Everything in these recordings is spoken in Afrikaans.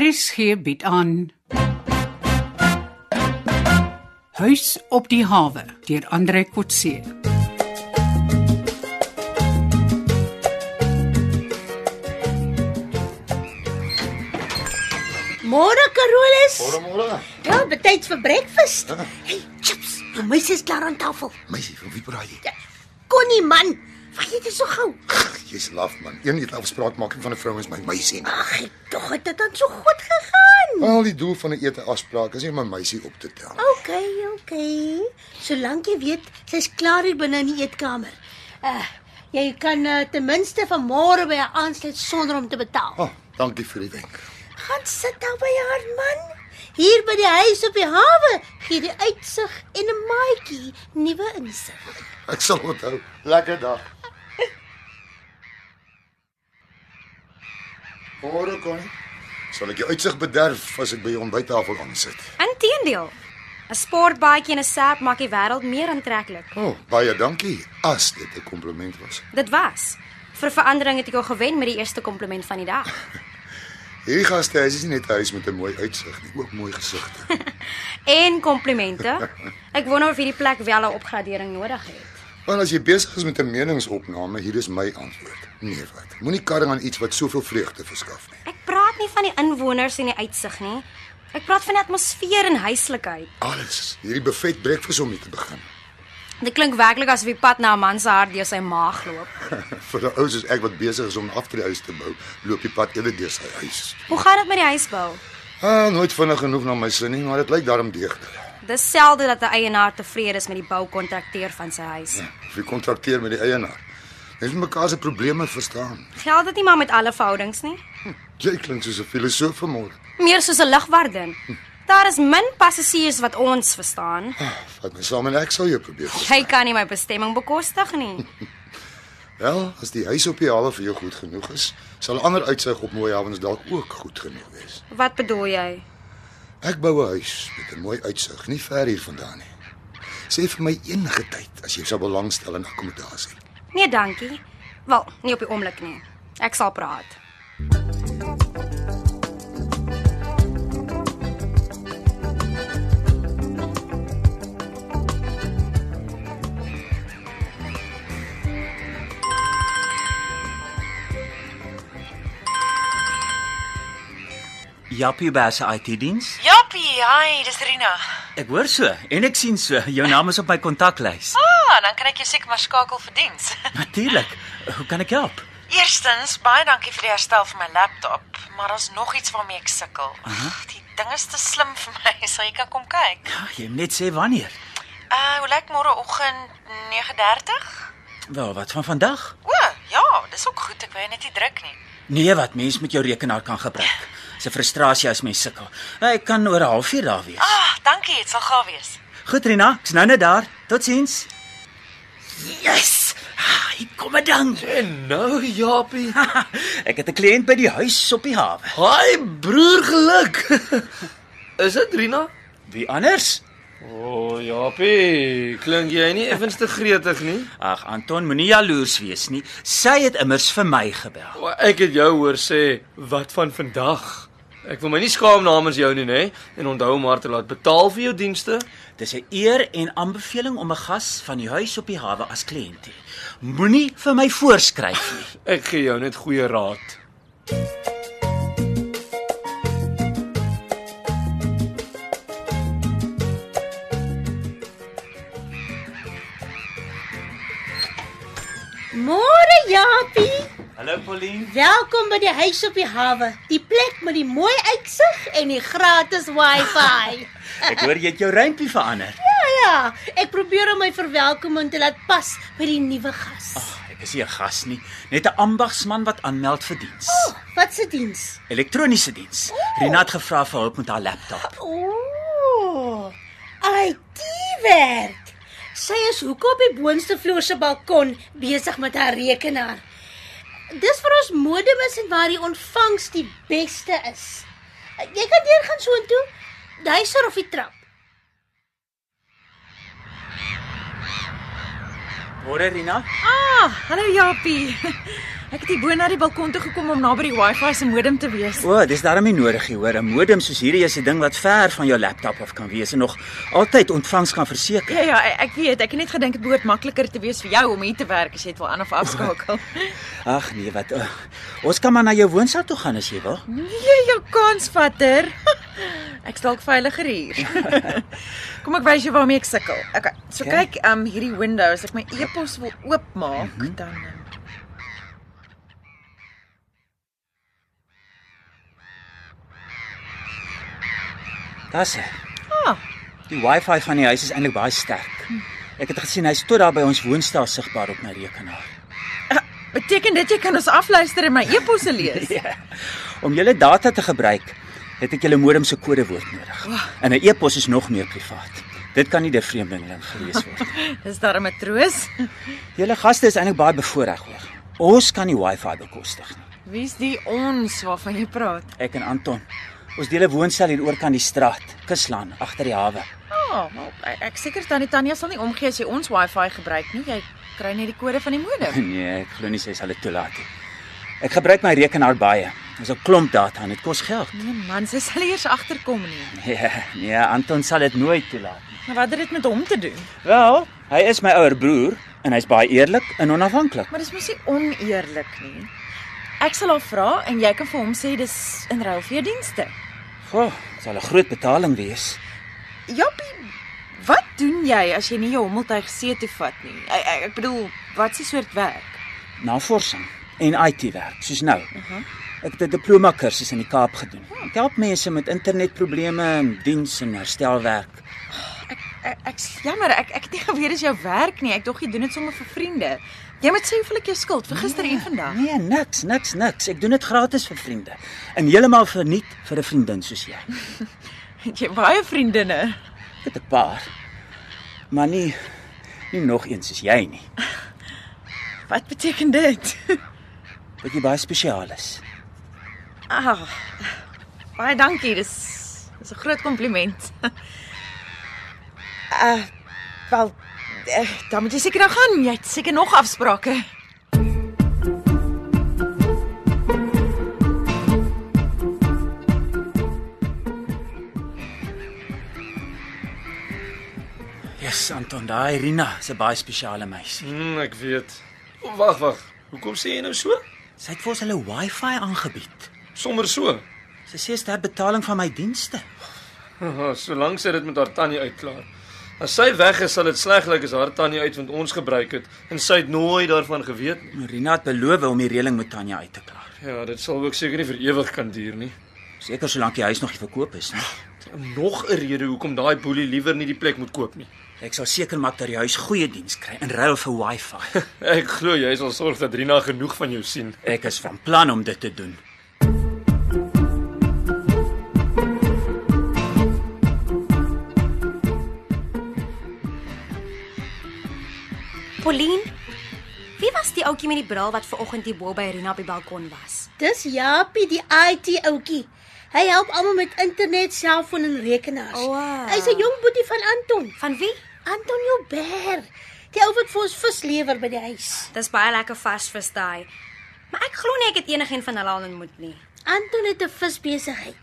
RSG bied aan Huis op die hawe deur Andre Kotse. Môre Carolus. Goeiemôre. Ja, betyds vir breakfast. Hey, chips. Die meisie is klaar aan tafel. Meisie, van wie praat jy? Ja, Connie man, vergeet dit so gou. Jy's laf man. Een het afspraakmaking van 'n vrou is my meisie. nie. Ag, tog het dit dan so goed gegaan. Al die doel van 'n ete afspraak is nie om 'n meisie op te tel. OK, OK. Solank jy weet sy's klaar hier binne in die eetkamer. Uh, jy kan uh, ten minste van môre by haar aansluit sonder om te betaal. Ah, dankie vir die wenk. Gaan sit daar by haar man. Hier by die huis op die hawe gee die uitsig en 'n maatjie nuwe insig. Ek sal onthou. Lekker dag. Môre kon. Sal ek jou uitsig bederf as ek by jou ontbyttafel aan sit? Inteendeel. 'n Sportbaadjie en 'n serp maak die wêreld meer aantreklik. O, oh, baie dankie. As dit 'n kompliment was. Dit was. Vir verandering het ek jou gewen met die eerste kompliment van die dag. Hierdie gastehuis is nie net 'n huis met 'n mooi uitsig nie, ook mooi gesigte. En komplimente. Ek wonder of hierdie plek wel 'n opgradering nodig het. Want as jy besig is met 'n meningsopname, hier is my antwoord. Nee, wat. Moenie karring aan iets wat soveel vreugde verskaf nie. Ek praat nie van die inwoners en die uitsig nie. Ek praat van die atmosfeer en huislikheid. Alles. Hierdie buffet breakfast om mee te begin. Dit klink werklik asof die pad na 'n man se hart deur sy maag loop. Vir 'n ou soos ek wat besig is om 'n aftreehuis te bou, loop die pad eerder deur sy huis. Hoe gaan dit met die huisbou? Ah, nooit vinnig genoeg na my sin nie, maar dit lyk daarom deeglik. Dis selde dat 'n eienaar tevrede is met die boukontrakteur van sy huis. Of jy kontrakteer met die eienaar. Mens moet mekaar se probleme verstaan. Geld dit nie maar met alle verhoudings nie. Jy klink soos 'n filosoof vanmôre. Meer soos 'n ligwardin. Daar is min passasiers wat ons verstaan. Ah, Vat my saam en ek sal jou probeer. Jy kan nie my bestemming bekostig nie. Wel, as die huis op die hawe vir jou goed genoeg is, sal ander uitsig op mooi hawens dalk ook goed genoeg wees. Wat bedoel jy? Ek bou 'n huis met 'n mooi uitsig, nie ver hier vandaan nie. Sê vir my enige tyd as jy sou belangstel in akkommodasie. Nee, dankie. Wel, nie op die oomblik nie. Ek sal praat. Jappie Bass IT-diens. Jappie, hi, dis Rina. Ek hoor so en ek sien so. Jou naam is op my kontaklys. Ah, dan kan ek jou seker maar skakel vir diens. Natuurlik. Hoe kan ek help? Eerstens, baie dankie vir die herstel van my laptop, maar daar's nog iets waarmee ek sukkel. Ag, Die ding is te slim vir my, sal jy kan kom kyk. Ag, Ja, jy moet net sê wanneer. Uh, hoe lyk môreoggend 9:30? Wel, wat van vandag? O, ja, dis ook goed, ek wou jou net nie druk nie. Nee, wat mens met jou rekenaar kan gebruik. Dis 'n frustrasie as mens sukkel. Ek kan oor 'n halfuur daar wees. Ah, dankie, dit sal gou wees. Goed Rina, ek's nou net daar. Totsiens. Yes! Ah, Hier kom 'n ding. En nou Japie. ek het 'n kliënt by die huis op die hawe. Hi broer geluk. Is dit Rina? Wie anders? O oh, Japie, klink jy nie effens te gretig nie? Ag, Anton, moenie jaloers wees nie. Sy het immers vir my gebel. O, ek het jou hoor sê wat van vandag. Ek wil my nie skaam namens jou nie, nê? En onthou om maar te laat betaal vir jou dienste. Dis 'n eer en aanbeveling om 'n gas van die huis op die hawe as kliënt te hê. Moenie vir my voorskryf nie. Ek gee jou net goeie raad. Môre Japie. Hallo Pauline. Welkom by die huis op die hawe. Die plek met die mooi uitsig en die gratis Wi-Fi. Ek hoor jy het jou rympie verander. ja ja, ek probeer om my verwelkoming te laat pas by die nuwe gas. Ag, ek is nie 'n gas nie, net 'n ambagsman wat aanmeld vir diens. Oh, wat se diens? Elektroniese diens. Rina het gevra vir hulp met haar laptop. Ooh. IT werk. Sy is hoekom op die boonste vloer se balkon besig met haar rekenaar. Dis vir ons modem is en waar die ontvangs die beste is. Jy kan deur gaan soontoe, duiser of die trap. Môre Rina. Ah, hallo Japie. Ek het hier bo na die balkon toe gekom om naby die Wi-Fi se modem te wees. O, dis daarom nie nodig nie, hoor. 'n Modem soos hierdie is 'n ding wat ver van jou laptop af kan wees en nog altyd ontvangs kan verseker. Ja ja, e- ek weet, ek het net gedink dit behoort makliker te wees vir jou om hier te werk as jy dit wil aan of afskakel. Ag nee, wat. Uh, ons kan maar na jou woonstel toe gaan as jy wil. Nee, jou kansvatter. Ek's dalk veiliger hier. Kom ek wys jou waarmee ek sukkel. Okay, so Okay. kyk, um hierdie Windows, ek my e-pos wil oopmaak, dan um, Daar's hy. Die Wi-Fi van die huis is eintlik baie sterk. Ek het gesien hy's tot daar by ons woonstel sigbaar op my rekenaar. Ah, beteken dit jy kan ons afluister en my e-posse lees. Ja. Om julle data te gebruik, het ek julle modem se kodewoord nodig. En 'n e-pos is nog meer privaat. Dit kan nie deur vreemdelinge gelees word. Dis darem 'n troos. Julle gaste is eintlik baie bevoordeel hoor. Ons kan die Wi-Fi bekostig. Wie's die ons waarvan jy praat? Ek en Anton. Ons deel 'n woonstel hier oor kan die straat, Kuslaan, agter die hawe. Ja, oh, ek, ek seker tannie Tanya sal nie omgee as jy ons Wi-Fi gebruik nie. Jy kry net die kode van die modem. Nee, ek glo nie sy sal dit toelaat nie. Ek gebruik my rekenaar baie. Ons 'n klomp data en dit kos geld. Nee man, sy sal eers agterkom nie. Ja, nee, Anton sal dit nooit toelaat nie. Maar wat het dit met hom te doen? Wel, hy is my ouer broer en hy's baie eerlik en onafhanklik. Maar dis mos nie oneerlik nie. Ek sal haar vra en jy kan vir hom sê dis in ruil vir jou dienste. Goh, sal 'n groot betaling wees. Jappie, wat doen jy as jy nie jou hommeltuig see toe vat nie? Ek, ek, ek bedoel, wat se soort werk? Navorsing en IT-werk, soos nou. Ek het 'n diploma kursus in die Kaap gedoen. Ek help mense met internetprobleme en diens en herstelwerk. Ek, ek is jammer, ek ek het nie geweet dis jou werk nie. Ek dog jy doen dit sommer vir vriende. Jy moet sê hoeveel ek jou skuld vir gister en vandag. Nee, niks, niks, niks. Ek doen dit gratis vir vriende en heeltemal verniet vir 'n vriendin soos jy. Het jy baie vriendinne? Ek het 'n paar. Maar nie nie nog een soos jy nie. Wat beteken dit? Wat jy baie spesiaal is. Ah, baie dankie. Dis dis 'n groot kompliment. Ah, uh, wel, uh, dan moet jy seker nou gaan. Jy het seker nog afsprake. Yes, Anton, daai Rina is 'n baie spesiale meisie. Hmm, ek weet. Wag, wag. Hoekom sê jy nou so? Sy het vir ons hulle Wi-Fi aangebied. Sommer so. Sy sê is ter betaling van my dienste. Haha, Solank sy dit met haar tannie uitklaar. As sy weg is, sal dit sleg lyk as haar tannie uitvind ons gebruik het en sy het nooit daarvan geweet nie. Rina het beloof om die reëling met Tanya uit te klaar. Ja, dit sal ook seker nie vir ewig kan duur nie. Seker solank die huis nog nie verkoop is nie. Nog 'n rede hoekom daai boelie liewer nie die plek moet koop nie. Ek sal seker maak dat die huis goeie diens kry in ruil vir Wi-Fi. Ek glo jy sal sorg dat Rina genoeg van jou sien. Ek is van plan om dit te doen. Pauline, wie was die ouetjie met die bril wat ver oggend hier bo by Rina op die balkon was? Dis Japie die IT ouetjie. Hy help almal met internet, selfoon en rekenaars. Wow. Hy's 'n jong boetie van Anton. Van wie? Anton Joubert. Die ou wat vir ons vis lewer by die huis. Dis baie lekker varsvis daai. Maar ek glo nie ek het enigiemand van hulle al ontmoet nie. Anton het 'n visbesigheid.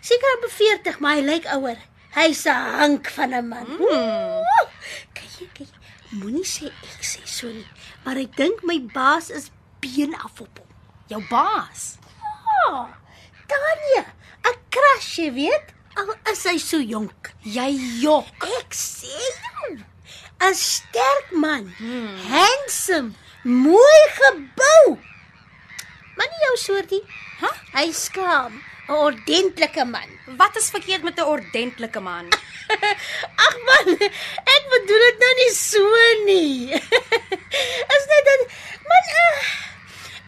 Seker op 40, maar hy lyk ouer. Hy's 'n hank van 'n man. Hmm. Mm. Kyk, kyk. Moenie sê ek sê so nie, maar ek dink my baas is been af op hom. Jou baas. Ah, Tanya, 'n crush, jy weet, al is hy so jonk. Jy jok. Ek sê jou, 'n sterk man, Hmm. handsome, mooi gebou. Maar nie jou soortie. Hæ? Hy skaam, 'n ordentlike man. Wat is verkeerd met 'n ordentlike man? Ag man, ek bedoel dit nou nie so nie. Is dit dat man uh,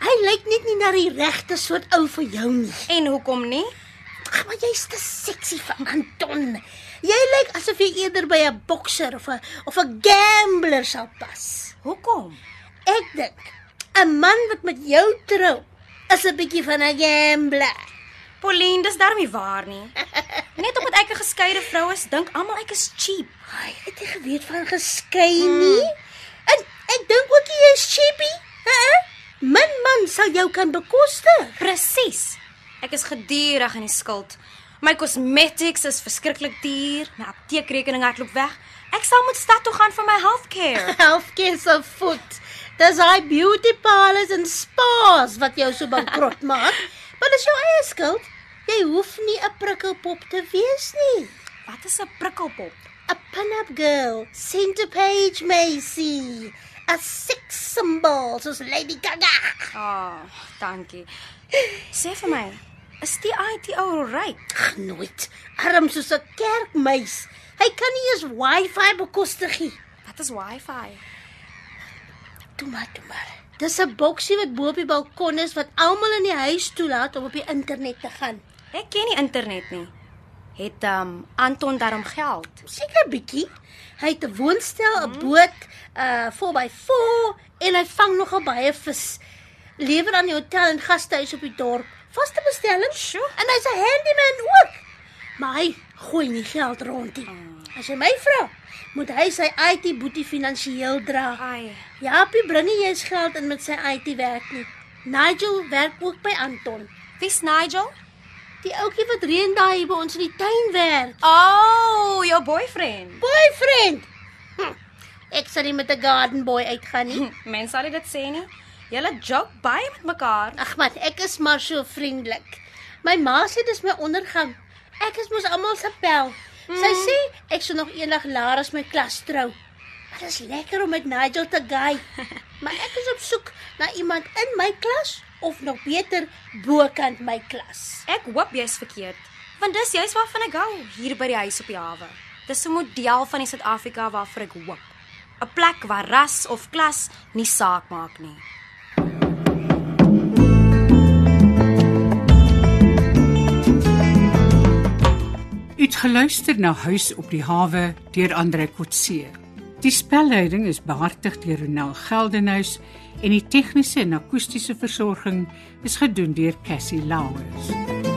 hy lyk net nie na die regte soort ou vir jou nie. En hoekom nie? Ag, maar jy's te seksie vir Anton. Jy lyk asof jy eerder by 'n bokser of 'n of 'n gambler sal pas. Hoekom? Ek dink 'n man wat met jou trou is 'n bietjie van 'n gambler. Pauline, dis darm nie waar nie. Net omdat ek 'n geskeide vrou is, dink almal ek is cheap. Ai, het jy Hmm. geweet van geskei nie? En ek dink ook jy is cheapie. Hæ? Min man sal jou kan bekostig. Presies. Ek is gedurig in die skuld. My cosmetics is verskriklik duur. My apteekrekening hardloop weg. Ek sal moet stad toe gaan vir my healthcare. Healthcare se voet. Dis daai beauty parlors en spas wat jou so bankrot maak. Maar dis jou eie skuld. Jy hoef nie 'n prikkelpop te wees nie. Wat is 'n prikkelpop? 'n Pin-up girl, Santa Page Macy, 'n sex symbol soos Lady Gaga. Ah, oh, dankie. Sê vir my, is die IT ou ryk? Ag, nooit. Arm soos 'n kerkmeis. Hy kan nie eens Wi-Fi bekostig nie. Wat is Wi-Fi? Toe maar, toe maar. Dis 'n boksie wat bo op die balkon is wat almal in die huis toelaat om op die internet te gaan. Ek ken nie internet nie. Het um Anton daarom geld? Seker bietjie. Hy het 'n woonstel, 'n boot, 'n 4x4 en hy vang nogal baie vis. Lewer aan die hotel en gastehuis op die dorp. Vaste bestelling. Sjoe. En hy's 'n handyman ook. Maar hy gooi nie geld rond nie. As jy my vra, moet hy sy IT boetie finansiëel dra. Ai, Japie bring nie eens geld in met sy IT werk nie. Nigel werk ook by Anton. wie's Nigel? Die ouetjie wat reën daai by ons in die tuin werk. Oh, jou boyfriend. Boyfriend. Hm, ek sal nie met 'n garden boy uitgaan nie. Mense sal nie dit sê nie. Julle joke baie met mekaar. Ag man, ek is maar so vriendelik. My ma sê dis my ondergang. Ek is mos almal se pel. Sy sê ek sou nog eendag laer as my klas trou. Maar dit is lekker om met Nigel te gaai. Maar ek is op soek na iemand in my klas of nog beter bokant my klas. Ek hoop jy's verkeerd, want dis juist waarvan ek hou, hier by die huis op die hawe. Dis 'n model van die Suid-Afrika waarvoor ek hoop. 'n Plek waar ras of klas nie saak maak nie. U het geluister na Huis op die hawe deur Andre Kotse. Die spelleiding is behartig deur Ronel Geldenhuys en die tegniese en akoestiese versorging is gedoen deur Cassie Lauers.